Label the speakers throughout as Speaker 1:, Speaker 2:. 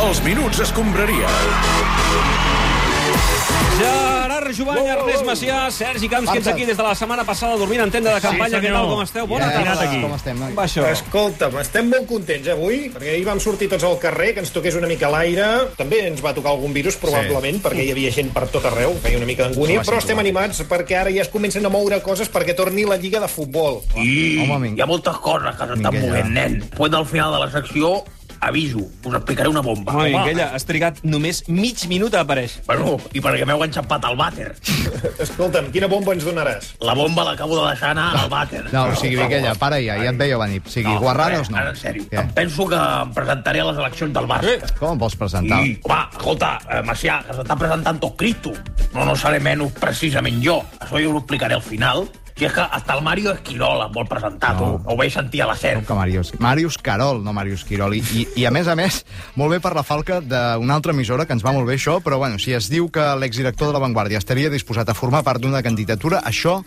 Speaker 1: Els minuts escombraria.
Speaker 2: Gerard Jovany, Ernest Macià, Sergi Camps, que ets aquí des de la setmana passada dormint en tenda de campanya. Què tal, com esteu? Bona tarda.
Speaker 3: Com estem, noi?
Speaker 2: Com va això?
Speaker 4: Escolta'm, estem molt contents avui, perquè ahir vam sortir tots al carrer, que ens toqués una mica l'aire. També ens va tocar algun virus, probablement, sí. perquè hi havia gent per tot arreu, feia una mica d'angúnia, però estem animats perquè ara ja es comencen a moure coses perquè torni la Lliga de Futbol.
Speaker 5: I
Speaker 3: Home, vinc-
Speaker 5: hi ha moltes coses que s'estan
Speaker 3: Minguella.
Speaker 5: movent, nen. Pues al final de la secció, aviso, us explicaré una bomba.
Speaker 2: Home, Minguella, has trigat només mig minut a aparèixer.
Speaker 5: Bueno, i perquè m'heu enxampat al vàter.
Speaker 4: Escolta'm, quina bomba ens donaràs?
Speaker 5: La bomba l'acabo de deixar anar al vàter. eh,
Speaker 3: No, o sigui, Miquella, para ja, ja et veia venir. O sigui, guarranos no.
Speaker 5: Ara, en sèrio,
Speaker 3: Què?
Speaker 5: em penso que em presentaré a les eleccions del Bàsquet.
Speaker 3: Com em vols
Speaker 5: I,
Speaker 3: presentar?
Speaker 5: home, escolta, eh, Macià, que s'està presentant tot Cristo. No, no seré menys precisament jo. Això jo ho explicaré al final. Si és que hasta el Mario Esquirol em vol presentar, no. tu. Ho vaig sentir a la SER.
Speaker 3: Com que Marius, Marius Carol, no Marius Quirol. I, i, I a més a més, molt bé per la falca d'una altra emissora, que ens va molt bé això, però bueno, si es diu que l'exdirector de La Vanguardia estaria disposat a formar part d'una candidatura, això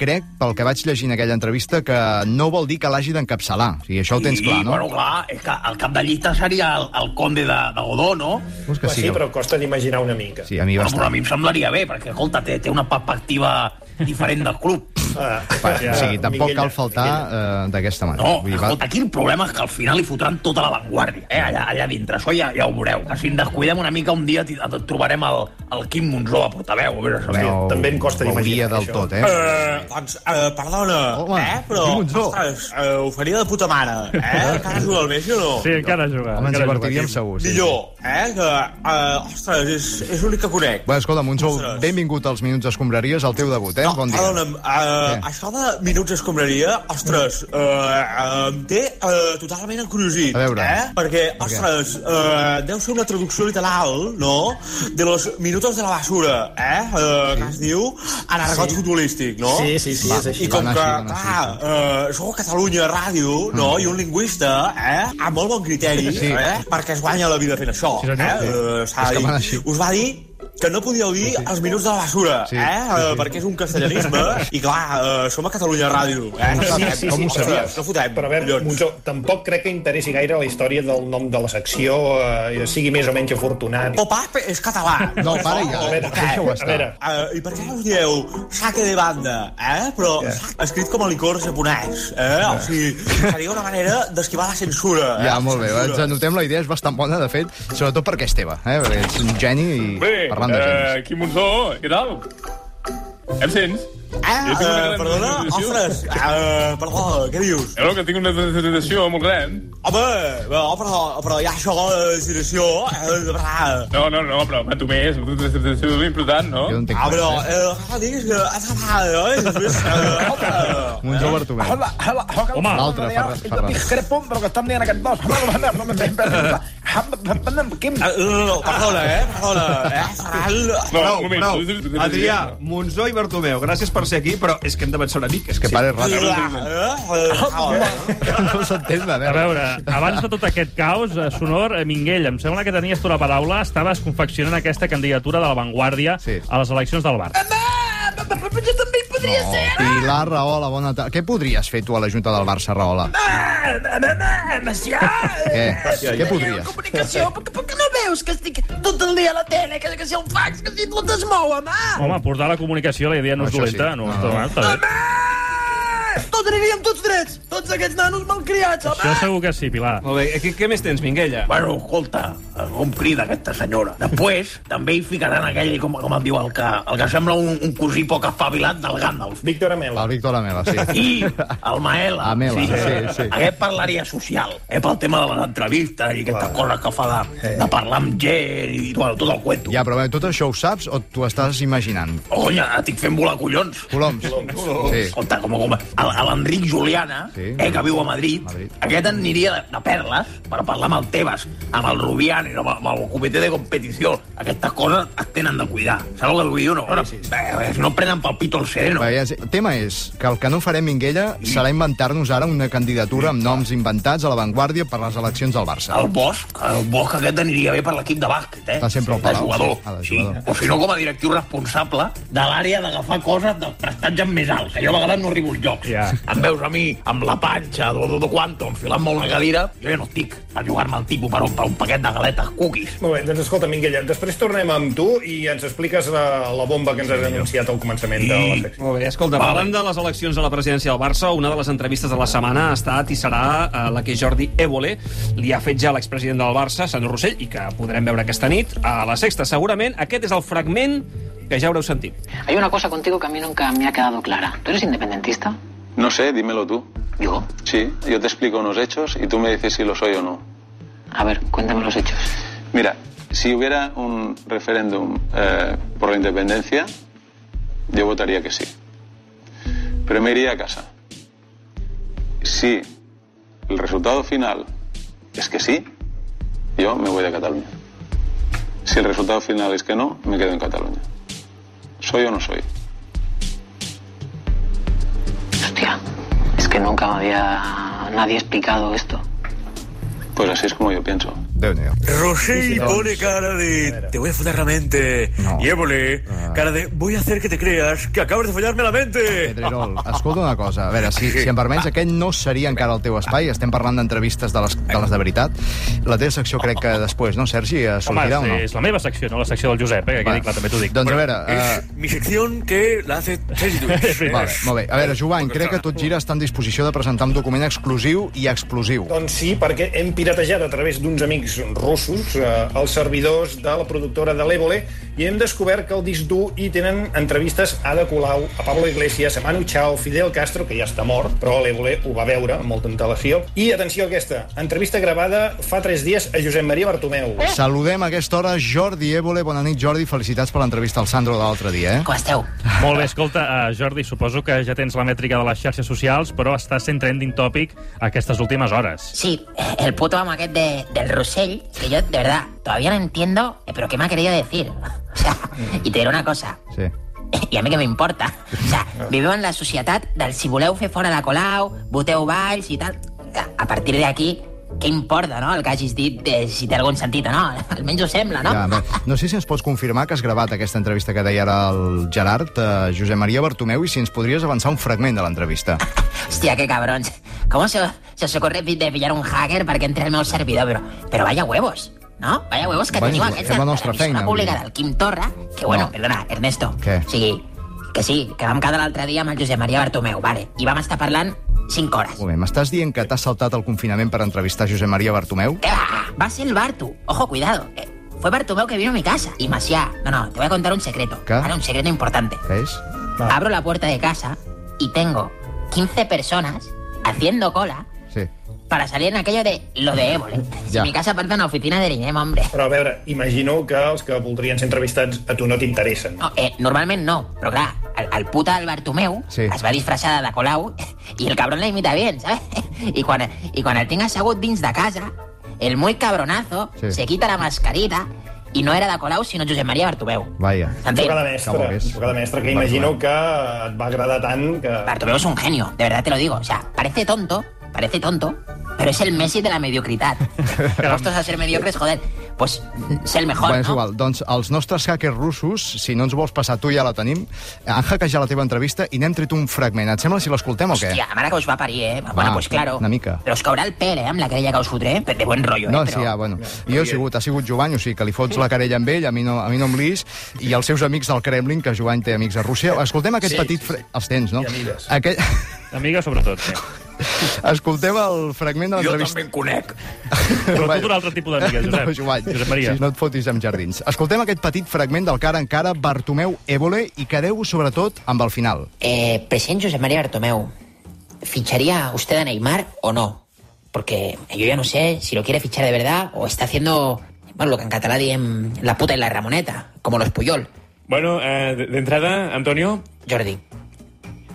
Speaker 3: crec, pel que vaig llegir en aquella entrevista, que no vol dir que l'hagi d'encapçalar. O sigui, això ho tens
Speaker 5: I,
Speaker 3: clar, no?
Speaker 5: Bueno, clar, és que el cap de llista seria el, el conde de, de Godó, no?
Speaker 3: Vols que
Speaker 4: Home,
Speaker 3: sigui?
Speaker 4: sí, però costa d'imaginar una mica.
Speaker 3: Sí, a mi
Speaker 5: Bueno, però a
Speaker 3: bastant.
Speaker 5: mi em semblaria bé, perquè, escolta, té, té una perspectiva diferent del club.
Speaker 4: Ah,
Speaker 3: Va, o sigui, tampoc
Speaker 4: Minguella,
Speaker 3: cal faltar
Speaker 4: Minguella.
Speaker 3: eh, d'aquesta manera.
Speaker 5: No,
Speaker 3: Vull dir, va-
Speaker 5: escolta, aquí el problema és que al final hi fotran tota la vanguardia, eh? allà, allà dintre. Això ja, ja ho veureu. Que si ens descuidem una mica, un dia ti- et trobarem el, el Quim Monzó de portaveu. A veure,
Speaker 3: no,
Speaker 5: no.
Speaker 4: també em costa
Speaker 3: ho
Speaker 4: d'imaginar,
Speaker 3: hauria del
Speaker 4: això.
Speaker 3: tot, eh?
Speaker 6: Eh, doncs, eh, perdona,
Speaker 3: Ah, Home,
Speaker 6: eh, però,
Speaker 3: Quim Monzó.
Speaker 6: ostres, eh, ho faria de puta mare, eh? Encara juga al Messi o no?
Speaker 7: Sí, encara juga.
Speaker 3: Home, ens
Speaker 7: encara
Speaker 3: divertiríem
Speaker 7: juga,
Speaker 3: segur. Sí.
Speaker 6: Millor, eh, que, eh, ostres, és, és l'únic que conec.
Speaker 3: Bé, escolta, Monzó,
Speaker 6: Ostres.
Speaker 3: benvingut als Minuts Escombraries, al teu debut, eh?
Speaker 6: No,
Speaker 3: bon dia.
Speaker 6: perdona'm, eh,
Speaker 3: Què? Mm.
Speaker 6: això de minuts escombraria, ostres, eh, eh, em té eh, totalment encrusit,
Speaker 3: A veure.
Speaker 6: eh? Perquè,
Speaker 3: Per què?
Speaker 6: ostres, eh, deu ser una traducció literal, no?, de los minutos de la basura, eh, eh que es diu en argot futbolístic, no?
Speaker 4: Sí, sí, sí, és així.
Speaker 6: I com
Speaker 3: Dona
Speaker 6: que,
Speaker 3: així, dona
Speaker 6: clar,
Speaker 3: així.
Speaker 6: eh, sou a Catalunya Ràdio, no?, i un lingüista, eh?, amb molt bon criteri,
Speaker 3: Sí.
Speaker 6: eh?, perquè es guanya la vida fent això,
Speaker 7: Sí, senyor.
Speaker 6: eh?
Speaker 7: Sí.
Speaker 6: eh? S'ha
Speaker 3: És que
Speaker 6: de
Speaker 3: van
Speaker 6: dir.
Speaker 3: així.
Speaker 6: Us va dir que no podíeu dir els minuts de la basura,
Speaker 3: Sí,
Speaker 6: eh?
Speaker 3: sí, sí.
Speaker 6: Eh, Perquè és un castellanisme i, clar, eh, som a Catalunya Ràdio. Eh?
Speaker 4: Sí, sí, sí,
Speaker 3: Com ho
Speaker 4: però-
Speaker 6: sabies? No fotem,
Speaker 4: Però a veure,
Speaker 6: collons.
Speaker 4: Monzó, tampoc crec que interessi gaire la història del nom de la secció, eh, sigui més o menys afortunat.
Speaker 6: Pop-up és català.
Speaker 3: No, para ja,
Speaker 6: O què?
Speaker 3: deixa-ho
Speaker 4: a veure,
Speaker 3: estar.
Speaker 6: Eh, I per què us dieu sake de banda, eh? Però yeah. escrit com a licor japonès, eh? O sigui, seria una manera d'esquivar la censura. eh?
Speaker 3: Ja, molt bé, ens
Speaker 6: Censura.
Speaker 3: anotem la idea, és bastant bona, de fet, sobretot perquè és teva, eh? perquè ets un geni i parlant
Speaker 8: eh,
Speaker 3: de genis.
Speaker 8: Quim Monzó, què tal? Em sents?
Speaker 6: Eh,
Speaker 8: Jo tinc una
Speaker 6: eh,
Speaker 8: gran
Speaker 6: perdona?
Speaker 8: decepció.
Speaker 6: Ostres, eh, perdó, què dius?
Speaker 8: Veureu que tinc una presentació molt gran.
Speaker 6: Home, no, però, però ja això, eh, situació, eh, de veritat.
Speaker 8: No, no, no, però va, tu més, tu tens una presentació important, no?
Speaker 3: Jo no entenc
Speaker 6: Ah, però,
Speaker 3: res, eh?
Speaker 6: eh, ara digues que has anat, oi? Després, eh, home.
Speaker 3: Monzó Bartomeu.
Speaker 9: Hola, hola, hola.
Speaker 7: Home.
Speaker 3: L'altre, Ferran-
Speaker 9: Jo
Speaker 3: Ferran.
Speaker 9: discrepo amb el que estan dient aquests dos. Hola, hola, hola. Quim,
Speaker 6: Eh, No, no, no, perdona, eh, perdona. Eh, Ferran,
Speaker 8: No,
Speaker 2: Prou,
Speaker 8: un moment,
Speaker 2: prou.
Speaker 8: tu tens una
Speaker 2: Adrià,
Speaker 8: presentació, no?
Speaker 2: Monzó i Bartomeu, gràcies per ser aquí, però és que hem d'avançar una mica.
Speaker 3: És que pare, és ràpid.
Speaker 6: eh, eh, eh,
Speaker 3: No s'entén de
Speaker 7: A
Speaker 3: veure.
Speaker 7: veure, abans de tot aquest caos eh, sonor, eh, Minguell, em sembla que tenies tu la paraula, estaves confeccionant aquesta candidatura de la Vanguardia
Speaker 3: Sí.
Speaker 7: a les eleccions del Barça.
Speaker 9: jo també hi podria
Speaker 3: Oh,
Speaker 9: ser.
Speaker 3: Pilar Rahola, bona tarda. Què podries fer tu a la Junta del Barça, Rahola?
Speaker 9: Macià,
Speaker 3: Què?
Speaker 9: eh,
Speaker 3: Què podries?
Speaker 9: comunicació, perquè, perquè no veus que estic tot el dia a la tele, que, que si el fax, que si tot es mou, home.
Speaker 7: Home, portar la comunicació, la idea no és eh?
Speaker 3: Això sí.
Speaker 7: dolenta. No,
Speaker 3: No.
Speaker 7: està bé, està bé.
Speaker 9: Tots aniríem tots drets, tots aquests nanos malcriats,
Speaker 7: Això
Speaker 9: home.
Speaker 7: segur que sí, Pilar.
Speaker 2: Molt bé, què, què més tens, Minguella?
Speaker 5: Bueno, escolta, eh, com crida aquesta senyora. Després, també hi ficaran aquell, com, com em diu, el que, el que sembla un, un cosí poc espavilat del Gandalf.
Speaker 4: Víctor Amela.
Speaker 3: El Víctor Amela, sí.
Speaker 5: I el Maela.
Speaker 2: Ah,
Speaker 3: Amela, sí, sí.
Speaker 5: Aquest parlaria social, eh, pel tema de les entrevistes i aquestes coses que fa de, de parlar amb gent i bueno, tot el cuento.
Speaker 3: Ja, però bé, tot això ho saps o t'ho estàs imaginant?
Speaker 5: Oh, Conya, estic fent volar collons.
Speaker 3: Coloms. Sí.
Speaker 5: Escolta, com, com, el- a l'Enric Juliana,
Speaker 3: Sí.
Speaker 5: sí. eh, que viu a Madrid,
Speaker 3: Madrid.
Speaker 5: Madrid. aquest aniria de, de perles per parlar amb el Tebas, amb el Rubian, i amb, el- amb el comitè de competició. Aquestes coses es tenen de cuidar. Saps el que vull dir o no? Sí, sí, sí. No prenen pel pito el sereno.
Speaker 3: Bé, ja sé. El tema és que el que no farem, Minguella, serà inventar-nos ara una candidatura amb noms inventats a l'avantguàrdia per les eleccions del Barça.
Speaker 5: El bosc, el bosc aquest aniria bé per l'equip de bàsquet, eh?
Speaker 3: Està sempre al
Speaker 5: de
Speaker 3: Palau,
Speaker 5: jugador.
Speaker 3: sí, a la
Speaker 5: Sí,
Speaker 3: jugador.
Speaker 5: O si no, com a directiu responsable de l'àrea d'agafar coses dels prestatges més alts, que jo a vegades no arribo als jocs.
Speaker 7: Ja.
Speaker 5: Em veus a mi amb la panxa, do, do, do quanto, enfilant molt la cadira, jo ja no estic per jugar-me el tipus per un, per un paquet de galetes cookies.
Speaker 4: Molt bé, doncs escolta, Minguella, després tornem amb tu i ens expliques la, la bomba que ens has anunciat al començament de la secció.
Speaker 2: Molt bé, escolta,
Speaker 5: Vale.
Speaker 2: parlant de les eleccions a la presidència del Barça, una de les entrevistes de la setmana ha estat i serà eh, la que Jordi Évole li ha fet ja a l'expresident del Barça, Sandro Rossell, i que podrem veure aquesta nit a la sexta, segurament. Aquest és el fragment que ja haureu sentit.
Speaker 1: Hay una cosa contigo que a mí nunca me ha quedado clara. ¿Tú eres independentista?
Speaker 10: No sé, dímelo tú.
Speaker 1: Yo.
Speaker 10: Sí, yo te explico unos hechos y tú me dices si lo soy o no.
Speaker 1: A ver, cuéntame los hechos.
Speaker 10: Mira, si hubiera un referéndum eh, por la independencia, yo votaría que sí. Pero me iría a casa. Si el resultado final es que sí, yo me voy de Cataluña. Si el resultado final es que no, me quedo en Cataluña. ¿Soy o no soy?
Speaker 1: Hostia, es que nunca me había nadie explicado esto.
Speaker 10: Pues así es como yo pienso.
Speaker 3: déu nhi
Speaker 6: Rosell pone cara de te voy a follar la mente.
Speaker 3: No.
Speaker 6: Y Évole, cara de voy a hacer que te creas que acabas de follarme la mente.
Speaker 3: Pedrerol, escolta una cosa, a veure, si, si em permets, aquest no seria encara el teu espai, estem parlant d'entrevistes de, les, de les de veritat. La teva secció crec que després, no, Sergi, eh,
Speaker 7: Home,
Speaker 3: sortirà o no?
Speaker 7: és la meva secció, no la secció del Josep, eh, que quedi clar, també t'ho dic.
Speaker 3: Doncs a veure... eh,
Speaker 6: Es mi sección que la hace Sergi Lluís.
Speaker 3: Vale, molt bé. A veure, Joan, crec que tot gira està en disposició de presentar un document exclusiu i explosiu.
Speaker 4: Doncs sí, perquè hem piratejat a través d'uns amics russos eh, els servidors de la productora de l'Evole i hem descobert que el disc dur hi tenen entrevistes a Ada Colau, a Pablo Iglesias, a Manu Chao, Fidel Castro, que ja està mort, però l'Evole ho va veure amb molta antelació. I atenció a aquesta, entrevista gravada fa tres dies a Josep Maria Bartomeu.
Speaker 3: Saludem a aquesta hora Jordi Évole. Bona nit, Jordi. Felicitats per l'entrevista al Sandro de l'altre dia, eh?
Speaker 1: Com esteu?
Speaker 7: Molt bé, escolta, eh, Jordi, suposo que ja tens la mètrica de les xarxes socials, però està sent trending topic aquestes últimes hores.
Speaker 1: Sí, el puto amo aquel de, del Russell, que yo de verdad todavía no entiendo, eh, pero ¿qué me ha querido decir? O sea, y te diré una cosa,
Speaker 3: Sí.
Speaker 1: i a mi què m'importa? O sea, vivim en la societat del si voleu fer fora la Colau, voteu Valls i tal. Eh, A partir d'aquí, què importa, no?, el que hagis dit, de, si té algun sentit o no. Almenys ho sembla, no?
Speaker 3: Ja, bé. no sé si ens pots confirmar que has gravat aquesta entrevista que deia ara el Gerard, eh, Josep Maria Bartomeu, i si ens podries avançar un fragment de l'entrevista.
Speaker 1: Hòstia, que cabrons. Com se, se os ocorre de pillar un hacker perquè entri al meu servidor? Però, però vaya huevos, no? Vaya huevos que
Speaker 3: Vaya
Speaker 1: teniu
Speaker 3: huevos,
Speaker 1: aquests
Speaker 3: és la
Speaker 1: de- de
Speaker 3: nostra
Speaker 1: l'emissora
Speaker 3: feina,
Speaker 1: pública
Speaker 3: vull dir.
Speaker 1: del Quim Torra, que, bueno,
Speaker 3: No.
Speaker 1: perdona, Ernesto.
Speaker 3: Què?
Speaker 1: O sigui, que sí, que vam quedar l'altre dia amb el Josep Maria Bartomeu, vale, i vam estar parlant 5 hores.
Speaker 3: Un moment, m'estàs dient que t'has saltat el confinament per entrevistar Josep Maria Bartomeu?
Speaker 1: ¿Qué va? Eh, ah, Va a ser el Bartu. Ojo, cuidado. Eh, Fue Bartumeo que vino a mi casa. Y Maciá. No, no, te voy a contar un secreto.
Speaker 3: ¿Qué?
Speaker 1: Ahora, un secreto importante.
Speaker 3: Què és?
Speaker 1: Abro la puerta de casa y tengo 15 personas haciendo cola
Speaker 3: Sí.
Speaker 1: para salir en aquello de lo de Évole. Si
Speaker 3: Ya.
Speaker 1: mi casa aparta una oficina de Linem, hombre.
Speaker 4: Però a veure, imagino que els que voldrien ser entrevistats a tu no t'interessen.
Speaker 1: No, eh, normalment no, però clar, el, el puta del Bartomeu sí.
Speaker 3: Sí.
Speaker 1: es va disfressar de la Colau i el cabron la imita bien, ¿sabes? I quan, i quan el tinc assegut dins de casa, el muy cabronazo
Speaker 3: Sí.
Speaker 1: sí. se quita la mascarita i no era de Colau, sinó Josep Maria Bartomeu.
Speaker 3: Vaia.
Speaker 4: Un
Speaker 1: S'entén?
Speaker 4: trucada
Speaker 3: Que
Speaker 4: mestra,
Speaker 3: bo que és.
Speaker 4: un trucada mestra que imagino que et va agradar tant que...
Speaker 1: Bartomeu es un genio, de verdad te lo digo. O sea, parece tonto, parece tonto, pero es el Messi de la mediocridad. Puestos a ser mediocres, joder, pues mm, ser el mejor,
Speaker 3: Bueno, és
Speaker 1: ¿no?
Speaker 3: igual. Doncs els nostres hackers russos, si no ens vols passar tu ja la tenim, han hackejat la teva entrevista i n'hem tret un fragment. Et sembla si l'escoltem o què? Ah,
Speaker 1: Hòstia, mare que us va parir, eh? bueno, pues claro.
Speaker 3: una mica.
Speaker 1: Però us caurà el pèl, eh, amb la querella que us fotré, eh? de bon rotllo,
Speaker 3: No,
Speaker 1: eh?
Speaker 3: sí, ja, bueno. Jo he sigut, ha sigut Jovany, o sigui que li fots la querella amb ell, a mi no, a mi no em lis, i els seus amics del Kremlin, que Jovany té amics a Rússia. Escoltem aquest petit... Fre... Els tens, no?
Speaker 4: I amigues.
Speaker 3: Aquest...
Speaker 7: Amiga, sobretot. Sí.
Speaker 3: Escoltem el fragment de
Speaker 5: Jo
Speaker 3: l'entrevista.
Speaker 5: també en conec.
Speaker 7: Però
Speaker 3: Vaja.
Speaker 7: tu d'un altre tipus d'amiga, Josep.
Speaker 3: No, Jovany,
Speaker 7: Josep Maria.
Speaker 3: si no et fotis amb jardins. Escoltem aquest petit fragment del cara en cara Bartomeu Évole i quedeu sobretot amb el final.
Speaker 1: Eh, presidente José María Bartomeu, ¿ficharía usted a Neymar o no? Porque yo ya no sé si lo quiere fichar de verdad o está haciendo, bueno, lo que en catalán dicen la puta y la ramoneta, como los Puyol.
Speaker 8: Bueno, eh, de- de entrada, Antonio,
Speaker 1: Jordi,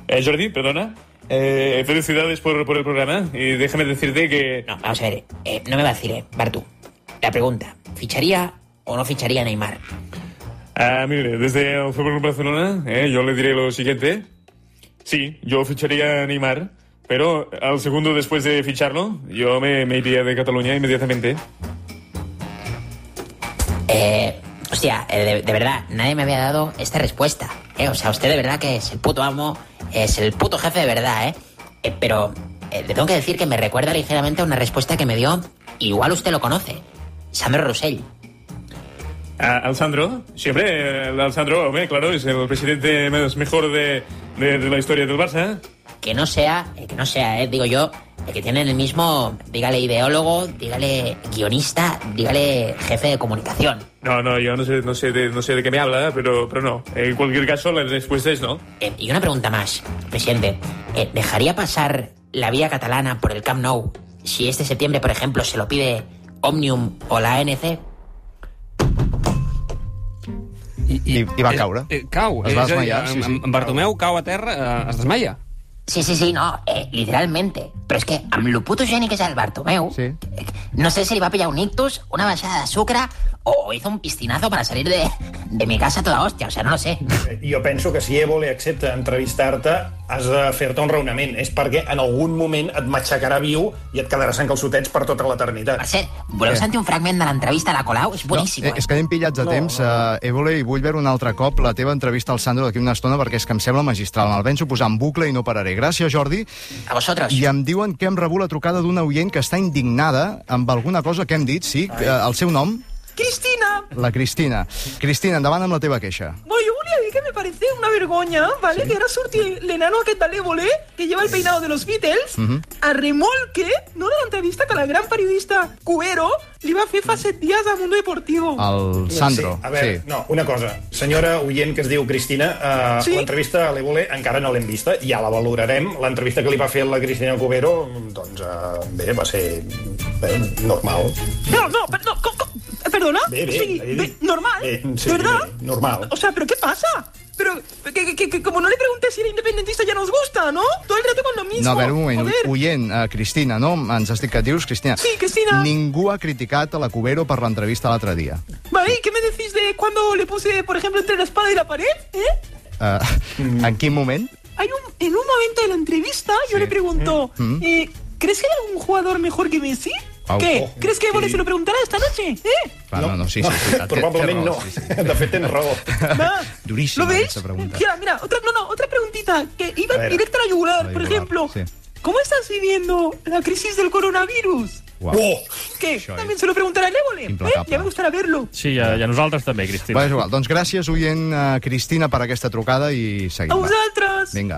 Speaker 8: eh, Jordi, perdona. Eh, felicidades por, por el programa y déjame decirte que...
Speaker 1: no, vamos a ver, eh, no me vacile, Bartu. La pregunta, ¿ficharía o no ficharía a Neymar?
Speaker 8: Ah, mire, desde el Fútbol Club Barcelona, eh, yo le diré lo siguiente. Sí, yo ficharía a Neymar, pero al segundo después de ficharlo, yo me, me iría de Cataluña inmediatamente.
Speaker 1: Eh, hostia, eh, de, de verdad, nadie me había dado esta respuesta. eh, o sea, usted de verdad que es el puto amo, es el puto jefe de verdad, ¿eh? Eh, pero eh, le tengo que decir que me recuerda ligeramente a una respuesta que me dio, igual usted lo conoce, Sandro Rosell.
Speaker 8: Ah, ¿Al Sandro? Siempre, eh, al Sandro, hombre, claro, es el presidente más mejor de, de- de la historia del Barça.
Speaker 1: Que no sea, eh, que no sea, eh, digo yo, eh, que tienen el mismo, dígale ideólogo, dígale guionista, dígale jefe de comunicación.
Speaker 8: No, no, yo no sé, no sé, de, no sé de qué me habla, pero, pero no. En cualquier caso, la respuesta es no.
Speaker 1: Eh, y una pregunta más, presidente. Eh, ¿Dejaría pasar la vía catalana por el Camp Nou si este septiembre, por ejemplo, se lo pide Omnium o la ANC?
Speaker 2: I,
Speaker 3: I, i va caure.
Speaker 2: Eh, cau.
Speaker 3: Es va
Speaker 2: És a dir,
Speaker 3: desmaiar, sí, sí.
Speaker 2: en- En Bartomeu cau a terra, eh, es desmaia.
Speaker 1: Sí, sí, sí, no, eh, literalmente. Però és que amb lo puto geni que és el Bartomeu,
Speaker 3: Sí.
Speaker 1: eh, no sé si li va pillar un ictus, una baixada de sucre o hizo un pistinazo para salir de, de mi casa toda hostia, o sea, no lo sé.
Speaker 4: eh, Jo penso que si Évole accepta entrevistar-te, has de fer-te un raonament. És perquè en algun moment et matxacarà viu i et quedaràs en calçotets per tota
Speaker 1: Per
Speaker 4: l'eternitat.
Speaker 1: cert, voleu sentir un fragment de l'entrevista a la Colau? És boníssim,
Speaker 3: No, eh,
Speaker 1: eh?
Speaker 3: és que anem pillats de no, temps, no, no. Uh, Évole, i vull veure un altre cop la teva entrevista al Sandro d'aquí una estona, perquè és que em sembla magistral. Me'l penso posar en bucle i no pararé. Gràcies, Jordi.
Speaker 1: A vosotros.
Speaker 3: I em diuen que hem rebut la trucada d'una oient que està indignada amb alguna cosa que hem dit, sí, eh, el seu nom,
Speaker 9: Cristina,
Speaker 3: la Cristina. Cristina, endavant amb la teva queixa.
Speaker 9: bueno, yo volví a decir que me parece una vergüenza, ¿vale? Que era surtir el enano que tal le volé, que lleva el peinado de los Beatles, a remolque, no de la entrevista que la gran periodista Cuero le iba a hacer hace días a Mundo Deportivo.
Speaker 3: El Sandro.
Speaker 4: Sí, a veure, sí. no, una cosa. Senyora oient que es diu Cristina, eh,
Speaker 9: Sí?
Speaker 4: sí? l'entrevista a l'Evole encara no l'hem vista, ja la valorarem. L'entrevista que li va fer la Cristina Cubero, doncs, eh, bé, va ser bé, normal.
Speaker 9: No, no, per- no, co- co- perdona?
Speaker 4: Bé, bé,
Speaker 9: O sigui,
Speaker 4: bé.
Speaker 9: normal,
Speaker 4: Bé, eh, sí,
Speaker 9: ¿verdad?
Speaker 4: bé, normal.
Speaker 9: O sea, ¿pero qué pasa? Pero que, que- que- que como no le pregunté si era independentista ya nos gusta, ¿no? Todo el rato con lo mismo.
Speaker 3: No, a veure, un moment,
Speaker 9: Joder.
Speaker 3: oient, uh, Cristina, no? Ens has dit que et dius, Cristina.
Speaker 9: Sí, Cristina.
Speaker 3: Ningú ha criticat a la Cubero per l'entrevista l'altre dia.
Speaker 9: Vale, ¿y qué me decís de cuando le puse, por ejemplo, entre la espada y la pared? ¿Eh?
Speaker 3: Uh,
Speaker 4: Mm.
Speaker 3: en quin moment?
Speaker 9: Hay un, en un momento de la entrevista yo
Speaker 3: Sí.
Speaker 9: le pregunto,
Speaker 3: Mm.
Speaker 9: eh, ¿crees que hay algún jugador mejor que Messi?
Speaker 3: Au.
Speaker 9: ¿Qué?
Speaker 3: Oh,
Speaker 9: ¿Crees que Bones se lo preguntará esta noche? ¿Eh?
Speaker 3: Va, Ah, no, no, sí, sí. sí té- té
Speaker 4: Probablement
Speaker 3: raó,
Speaker 4: no.
Speaker 3: sí, sí.
Speaker 4: De fet, tens raó.
Speaker 9: Va.
Speaker 3: Durísima
Speaker 9: ¿Lo veis?
Speaker 3: esa pregunta.
Speaker 9: Mira, mira, otra, no, no, otra preguntita que
Speaker 4: A
Speaker 9: iba
Speaker 4: ver.
Speaker 9: directa a la yugular,
Speaker 3: La
Speaker 9: por
Speaker 3: yugular,
Speaker 9: ejemplo.
Speaker 3: sí.
Speaker 9: ¿Cómo estás viviendo la crisis del coronavirus?
Speaker 3: Uau.
Speaker 4: Oh!
Speaker 9: ¿Qué?
Speaker 3: Això
Speaker 9: También
Speaker 3: és
Speaker 9: se lo preguntará el Évole. ¿eh?
Speaker 3: implacable.
Speaker 9: Ya me gustará verlo.
Speaker 7: Sí, i a, i a nosaltres també, Cristina.
Speaker 3: Va, és igual. Doncs gràcies, oient uh, Cristina, per aquesta trucada i
Speaker 9: A
Speaker 3: seguim. Va.
Speaker 9: vosotros.
Speaker 3: Vinga.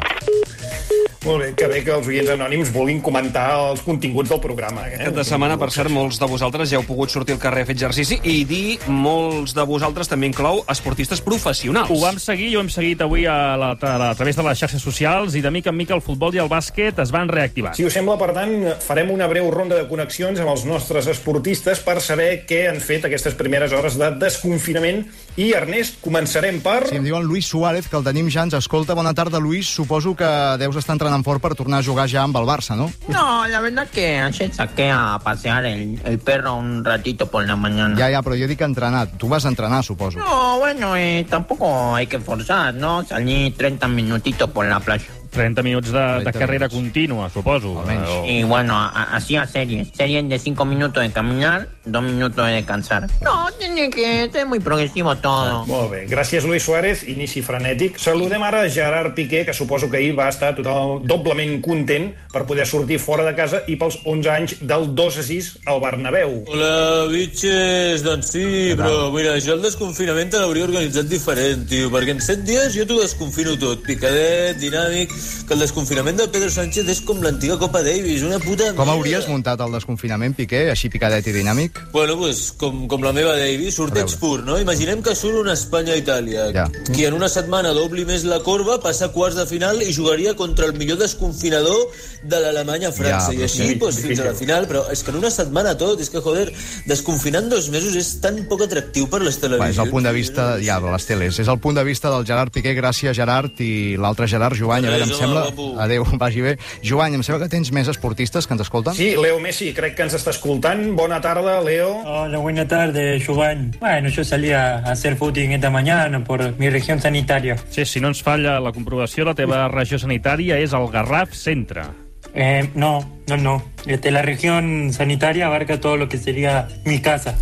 Speaker 4: Molt bé, que bé que els oients anònims vulguin comentar els continguts del programa. Eh?
Speaker 2: Cap de setmana, per cert, molts de vosaltres ja heu pogut sortir al carrer a fer exercici i dir molts de vosaltres també inclou esportistes professionals.
Speaker 7: Ho vam seguir i ho hem seguit avui a, la, a, la, a través de les xarxes socials i de mica en mica el futbol i el bàsquet es van reactivar.
Speaker 4: Si us sembla, per tant, farem una breu ronda de connexions amb els nostres esportistes per saber què han fet aquestes primeres hores de desconfinament. I, Ernest, començarem per...
Speaker 3: Sí, em diuen Luis Suárez, que el tenim ja, ens escolta. Bona tarda, Luis. Suposo que deus estar entrenant fort per tornar a jugar ja amb el Barça, no?
Speaker 11: No, la verdad que ayer saqué a pasear el, el perro un ratito por la mañana.
Speaker 3: Ja, ja, però jo dic entrenar. Tu vas entrenar, suposo.
Speaker 11: No, bueno, eh, tampoco hay que forzar, ¿no? Salí 30 minutitos por la playa.
Speaker 7: 30 minuts de, de
Speaker 3: 30
Speaker 7: carrera
Speaker 3: minuts.
Speaker 7: contínua, suposo. Eh,
Speaker 3: Almenys.
Speaker 7: o-
Speaker 11: Y bueno, a- a- hacía series. Series de 5 minutos de caminar, 2 minutos de descansar. No, tiene que ser muy progresivo todo.
Speaker 4: Molt bé, gràcies Luis Suárez, inici frenètic. Saludem ara Gerard Piqué, que suposo que ahir va estar total, doblement content per poder sortir fora de casa i pels 11 anys del 2 a 6 al Bernabéu.
Speaker 6: Hola, bitxes, doncs sí, però mira, jo el desconfinament te l'hauria organitzat diferent, tio, perquè en set dies jo t'ho desconfino tot, picadet, dinàmic, que el desconfinament de Pedro Sánchez és com l'antiga Copa Davis, una puta
Speaker 3: Com
Speaker 6: merda.
Speaker 3: hauries muntat el desconfinament, Piqué, així picadet i dinàmic?
Speaker 6: Bueno, pues, com, com la meva Davis, sorteig
Speaker 3: A veure.
Speaker 6: pur, no? Imaginem que surt una Espanya-Itàlia,
Speaker 3: Ja.
Speaker 6: qui en una setmana dobli més la corba, passa a quarts de final i jugaria contra el millor desconfinador de l'Alemanya-França.
Speaker 3: Ja,
Speaker 6: I
Speaker 3: però
Speaker 6: així,
Speaker 3: sí.
Speaker 6: pues, fins a la final. Però és que en una setmana tot, és que, joder, desconfinar en dos mesos és tan poc atractiu per les
Speaker 3: Va,
Speaker 6: televisions.
Speaker 3: és el punt de vista, ja, de les teles, és el punt de vista del Gerard Piqué, gràcies Gerard, i l'altre Gerard, Joan, a veure, em
Speaker 6: Res,
Speaker 3: sembla...
Speaker 6: home, guapo.
Speaker 3: Adéu, vagi bé. Joan, em sembla que tens més esportistes que ens escolten?
Speaker 4: Sí, Leo Messi, crec que ens està escoltant. Bona tarda, Leo.
Speaker 12: Hola, buenas tardes, Giovanni. Bueno, yo salí a hacer footing esta mañana por mi región sanitaria.
Speaker 7: Sí, si no ens falla la comprovació, la teva regió sanitària és el Garraf Centre.
Speaker 12: Eh, no, no, no. Este, la región sanitaria abarca todo lo que sería mi casa.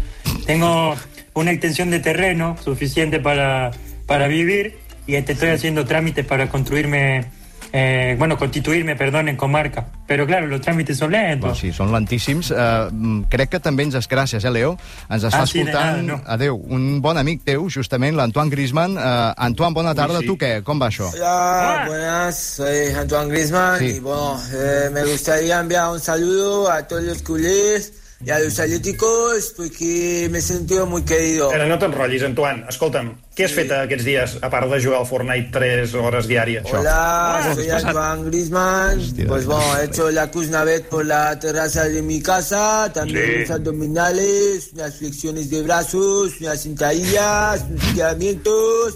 Speaker 12: Tengo una extensión de terreno suficiente para, para vivir y este, estoy haciendo trámites para construirme eh, bueno, constituirme, perdón, en comarca. Pero claro, los trámites son lentos.
Speaker 3: Bueno, sí, són lentíssims. Uh, crec que també ens... Gràcies, eh, Leo? Ens està
Speaker 12: Ah, sí, de
Speaker 3: escoltant...
Speaker 12: nada, no.
Speaker 3: Adéu. Un bon amic teu, justament, l'Antoine Griezmann. Uh, Antoine, bona tarda.
Speaker 13: sí.
Speaker 3: Tu què? Com va això?
Speaker 13: Hola, buenas, soy Antoine Griezmann
Speaker 3: Sí.
Speaker 13: y bueno, eh, me gustaría enviar un saludo a todos los culés y a los atléticos porque me he sentido muy querido.
Speaker 4: Ara no t'enrotllis, Antoine. Escolta'm, què has fet aquests dies, a part de jugar al Fortnite 3 hores diàries?
Speaker 13: Hola, soy Antoine Griezmann. Pues bueno, he hecho la cruz una vez por la terraza de mi casa, también
Speaker 4: Sí.
Speaker 13: unos abdominales, unas flexiones de brazos, unas sentadillas, unos estiramientos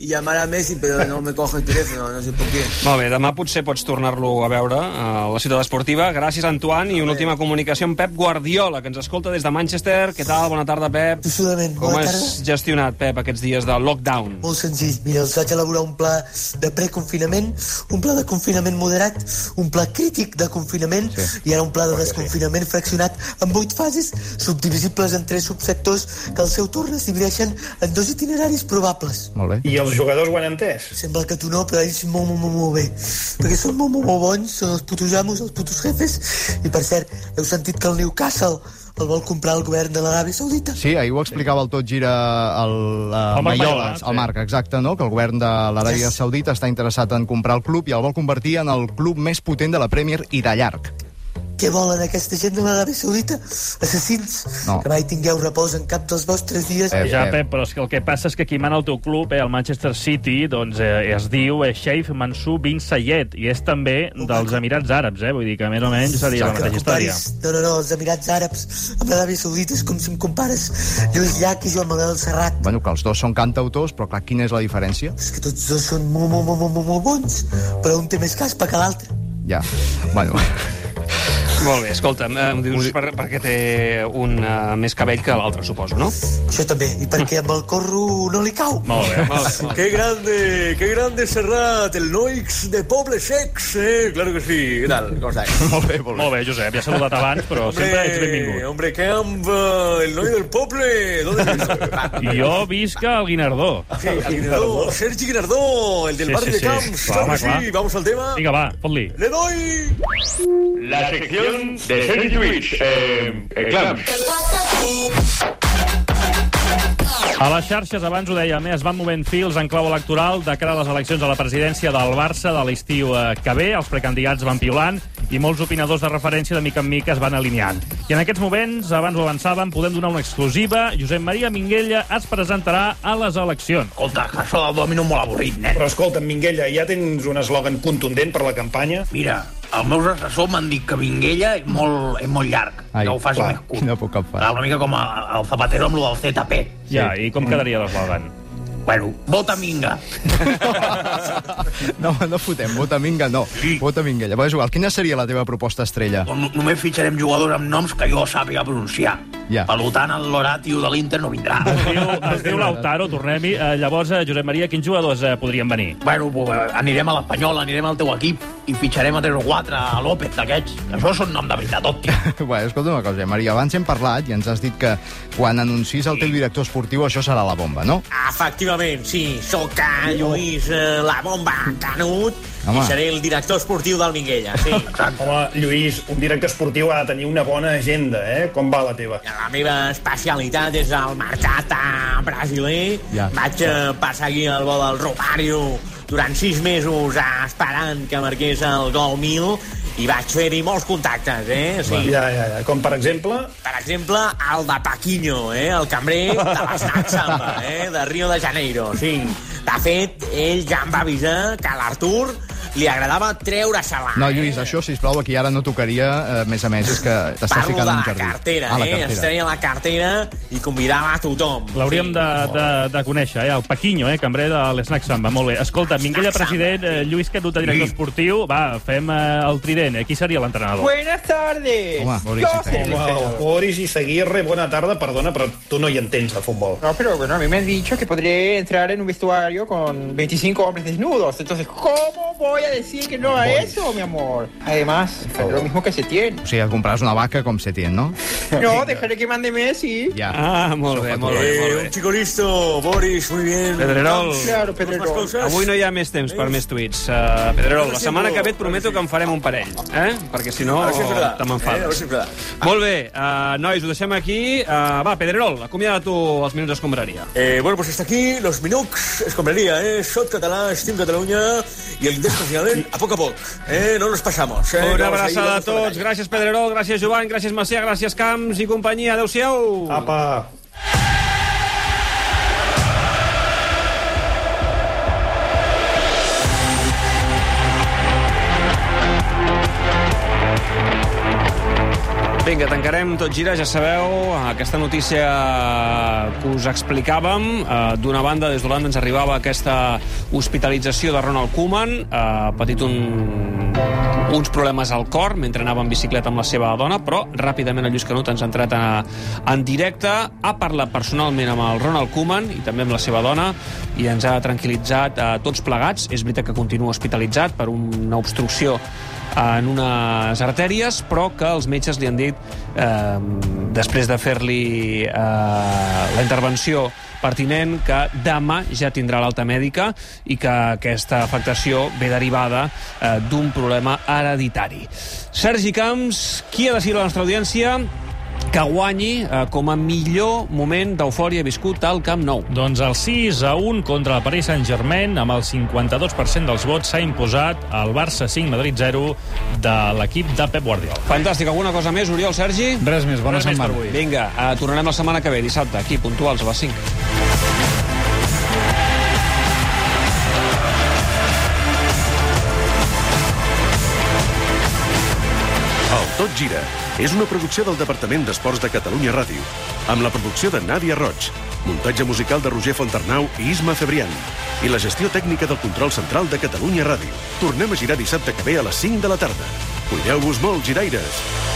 Speaker 13: y llamar a Messi, pero no me coge el teléfono, no sé por qué.
Speaker 2: Molt bé, demà potser pots tornar-lo a veure eh, a la ciutat esportiva. Gràcies, Antoine, i una última comunicació amb Pep Guardiola, que ens escolta des de Manchester. Què tal? Bona tarda, Pep.
Speaker 14: Absolutament.
Speaker 2: Com
Speaker 14: Bona
Speaker 2: has gestionat, Pep, aquests dies de lockdown?
Speaker 14: Molt senzill. Mira, els vaig elaborar un pla de preconfinament, un pla de confinament moderat, un pla crític de confinament sí. i ara un pla de desconfinament fraccionat en vuit fases subdivisibles en tres subsectors que al seu torn es divideixen en dos itineraris probables.
Speaker 3: Molt bé.
Speaker 4: I els jugadors ho han entès?
Speaker 14: Sembla que tu no, però ells molt, molt, molt, molt bé. Perquè són molt, molt, molt bons, són els putos amos, els putos jefes. I, per cert, heu sentit que el Newcastle el vol comprar el govern de l'Aràbia Saudita?
Speaker 3: Sí, ahir ho explicava el tot gira el, eh, Maiola,
Speaker 14: El Marc Mayola, sí.
Speaker 3: el Marc, exacte, no? que el govern de l'Aràbia Saudita està interessat en comprar el club i el vol convertir en el club més potent de la Premier i de llarg.
Speaker 14: Què volen aquesta gent de l'Aràbia Saudita? Assassins?
Speaker 3: No.
Speaker 14: Que mai tingueu repòs en cap dels vostres dies.
Speaker 7: Eh, ja, Pep, però és que el que passa és que qui mana el teu club, eh, el Manchester City, doncs eh, es diu eh, Sheikh Mansour bin Sayed, i és també dels Emirats Àrabs, eh? Vull dir que més o menys seria la
Speaker 14: Que
Speaker 7: mateixa història.
Speaker 14: comparis- No, no, no, els Emirats Àrabs amb l'Aràbia Saudita és com si em compares Lluís Llach i Joan Manuel Serrat.
Speaker 3: Bueno, que els dos són cantautors, però clar, quina és la diferència?
Speaker 14: És que tots dos són molt, molt, molt, molt, molt bons, però un té més caspa que l'altre.
Speaker 3: Ja, bueno...
Speaker 2: Molt bé, escolta'm, eh, em dius per, perquè té un eh, més cabell que l'altre, suposo, no?
Speaker 14: Això també, i perquè amb el corro no li cau.
Speaker 2: Molt bé, molt bé.
Speaker 15: Qué grande, qué grande Serrat, el Noix de Poble Sex, eh? Claro que sí. ¿Qué tal? ¿Cómo estáis?
Speaker 3: Molt bé, molt
Speaker 7: bé. Molt bé, Josep, ja he saludat abans, però
Speaker 15: Hombre,
Speaker 7: sempre ets benvingut.
Speaker 15: Hombre, Camp, eh, el Noix del Poble. ¿Dónde vives?
Speaker 7: I jo visc al Guinardó.
Speaker 15: Sí, al Guinardó, Sergi Guinardó, el del
Speaker 7: Sí, sí,
Speaker 15: barrio de
Speaker 7: sí.
Speaker 15: Camps.
Speaker 7: Va,
Speaker 15: Claro que
Speaker 7: home, clar.
Speaker 15: sí, vamos al tema.
Speaker 7: Vinga, va, fot-li.
Speaker 15: Le doy la sección
Speaker 8: de Sergi Twitch, eh, eh, Clams.
Speaker 7: A les xarxes, abans ho dèiem, eh, es van movent fils en clau electoral de cara a les eleccions a la presidència del Barça de l'estiu eh, que ve. Els precandidats van piulant i molts opinadors de referència de mica en mica es van alineant. I en aquests moments, abans ho avançàvem, podem donar una exclusiva. Josep Maria Minguella es presentarà a les eleccions.
Speaker 4: Escolta, que això del domino molt avorrit, nen. Però escolta'm, Minguella, ja tens un eslògan contundent per la campanya?
Speaker 5: Mira, els meus assessors m'han dit que Vinguella és molt, és molt llarg, Ai, que ho faci més curt.
Speaker 3: Quina poca fa.
Speaker 5: Clar, Una mica com a- el Zapatero amb lo del ZP.
Speaker 7: Ja, i com quedaria l'eslògan?
Speaker 5: Bueno, vota Minga.
Speaker 3: No, no fotem, vota Minga, no. Vota Minga. Llavors, igual, quina seria la teva proposta estrella?
Speaker 5: Oh, No- Només fitxarem jugadors amb noms que jo sàpiga pronunciar.
Speaker 3: Ja.
Speaker 5: Per tant, el Loratio de l'Inter no vindrà.
Speaker 7: Es diu Lautaro, tornem-hi. Eh, llavors, eh, Josep Maria, quins jugadors eh, podrien venir?
Speaker 5: Bueno, pues, eh, anirem a l'Espanyol, anirem al teu equip i fitxarem a 3 o 4 a López d'aquests. Això són nom de veritat, tot, tio.
Speaker 3: Bé, escolta una cosa, Maria, abans hem parlat i ens has dit que quan anuncis el teu director esportiu això serà la bomba, no?
Speaker 15: Efectivament, sí, sóc a Lluís eh, La Bomba Canut
Speaker 3: Home.
Speaker 15: i seré el director esportiu del Minguella, sí.
Speaker 4: Home, Lluís, un director esportiu ha de tenir una bona agenda, eh? Com va la teva?
Speaker 15: La meva especialitat és el mercat eh, brasiler.
Speaker 4: Ja.
Speaker 15: Vaig eh, passar aquí al vol del Romario durant sis mesos eh, esperant que marqués el gol 1000 i vaig fer-hi molts contactes, eh? Sí.
Speaker 4: Ja, ja, ja. Com per exemple?
Speaker 15: Per exemple, el de Paquinho, eh? el cambrer de la Snack Samba, eh? de Rio de Janeiro. Sí. De fet, ell ja em va avisar que a l'Artur li agradava treure-se-la.
Speaker 3: No, Lluís, això, sisplau, aquí ara no tocaria, eh, més a més, és que t'estàs
Speaker 15: Parlo de
Speaker 3: ficant en
Speaker 15: la
Speaker 3: un jardí.
Speaker 15: cartera,
Speaker 3: Ah, la
Speaker 15: eh? Es
Speaker 3: cartera.
Speaker 15: treia la cartera i convidava a tothom.
Speaker 7: L'hauríem de, de, de conèixer, eh? el Paquinho, eh? cambrer de l'Snack Samba. Molt bé. Escolta, Minguella, president, eh, Lluís Canuta, director esportiu, va, fem eh, el trident. Eh? Qui seria l'entrenador?
Speaker 4: Buenas tardes.
Speaker 7: Home, Boris
Speaker 4: Yo
Speaker 7: y Seguirre.
Speaker 4: soy- Wow, Boris y Seguirre, buena tarde, perdona, pero tú no hi entens de futbol.
Speaker 16: No, pero bueno, a mí me han dicho que podré entrar en un vestuario con 25 hombres desnudos. Entonces, ¿cómo voy a decir que no a eso, mi amor. Además, lo mismo que se tiene.
Speaker 3: O sigui, compraràs una vaca com se tiene, no?
Speaker 16: No, dejaré que mande Messi.
Speaker 3: Ja.
Speaker 2: Ah, molt bé, molt bé, molt bé.
Speaker 15: Un chico listo, Boris, muy bien.
Speaker 2: Pedrerol,
Speaker 16: Claro, Pedrerol.
Speaker 2: avui no hi ha més temps per
Speaker 15: eh?
Speaker 2: més tuits. Uh, Pedrerol, la
Speaker 15: Sí,
Speaker 2: setmana
Speaker 15: no,
Speaker 2: que ve et prometo que en farem un parell, eh? Perquè si no,
Speaker 15: A veure si és verdad.
Speaker 2: te
Speaker 15: Eh, a veure
Speaker 2: m'enfades.
Speaker 15: si és verdad.
Speaker 2: Molt bé, uh, nois, ho deixem aquí. Uh, va, Pedrerol, acomiada tu els minuts d'escombraria.
Speaker 15: Eh, bueno, pues hasta aquí los Minux, escombraria, eh? Shot català, Steam Catalunya i el desconfinament a poc a poc. Eh? No nos pasamos. Eh?
Speaker 2: Una
Speaker 15: Vamos a ir,
Speaker 2: abraçada a
Speaker 15: vamos
Speaker 2: tots. Gràcies, Pedrerol, gràcies, Joan, gràcies, Macià, gràcies, Camps i companyia. Adéu-siau.
Speaker 4: Apa.
Speaker 2: Vinga, tancarem tot gira, ja sabeu, aquesta notícia que us explicàvem. Eh, D'una banda, des d'Holanda ens arribava aquesta hospitalització de Ronald Koeman, eh, ha patit un, uns problemes al cor mentre anava en bicicleta amb la seva dona, però ràpidament el Lluís Canut ens ha entrat a, en directe, ha parlat personalment amb el Ronald Koeman i també amb la seva dona i ens ha tranquil·litzat a tots plegats. És veritat que continua hospitalitzat per una obstrucció en unes artèries, però que els metges li han dit, eh, després de fer-li eh, la intervenció pertinent, que demà ja tindrà l'alta mèdica i que aquesta afectació ve derivada eh, d'un problema hereditari. Sergi Camps, qui ha decidit la nostra audiència? que guanyi eh, com a millor moment d'eufòria viscut al Camp Nou.
Speaker 7: Doncs el 6 a 1 contra el Paris Saint-Germain, amb el 52% dels vots, s'ha imposat el Barça 5, Madrid 0 de l'equip de Pep Guardiola.
Speaker 2: Fantàstic. Alguna cosa més, Oriol, Sergi?
Speaker 17: Res més, bona
Speaker 2: Res més
Speaker 17: setmana.
Speaker 2: per avui. Vinga, eh, tornarem la setmana que ve, dissabte, aquí, puntuals, a les 5.
Speaker 18: El Tot Gira és una producció del Departament d'Esports de Catalunya Ràdio, amb la producció de Nàdia Roig, muntatge musical de Roger Fontarnau i Isma Febrian, i la gestió tècnica del control central de Catalunya Ràdio. Tornem a girar dissabte que ve a les 5 de la tarda. Cuideu-vos molt, giraires!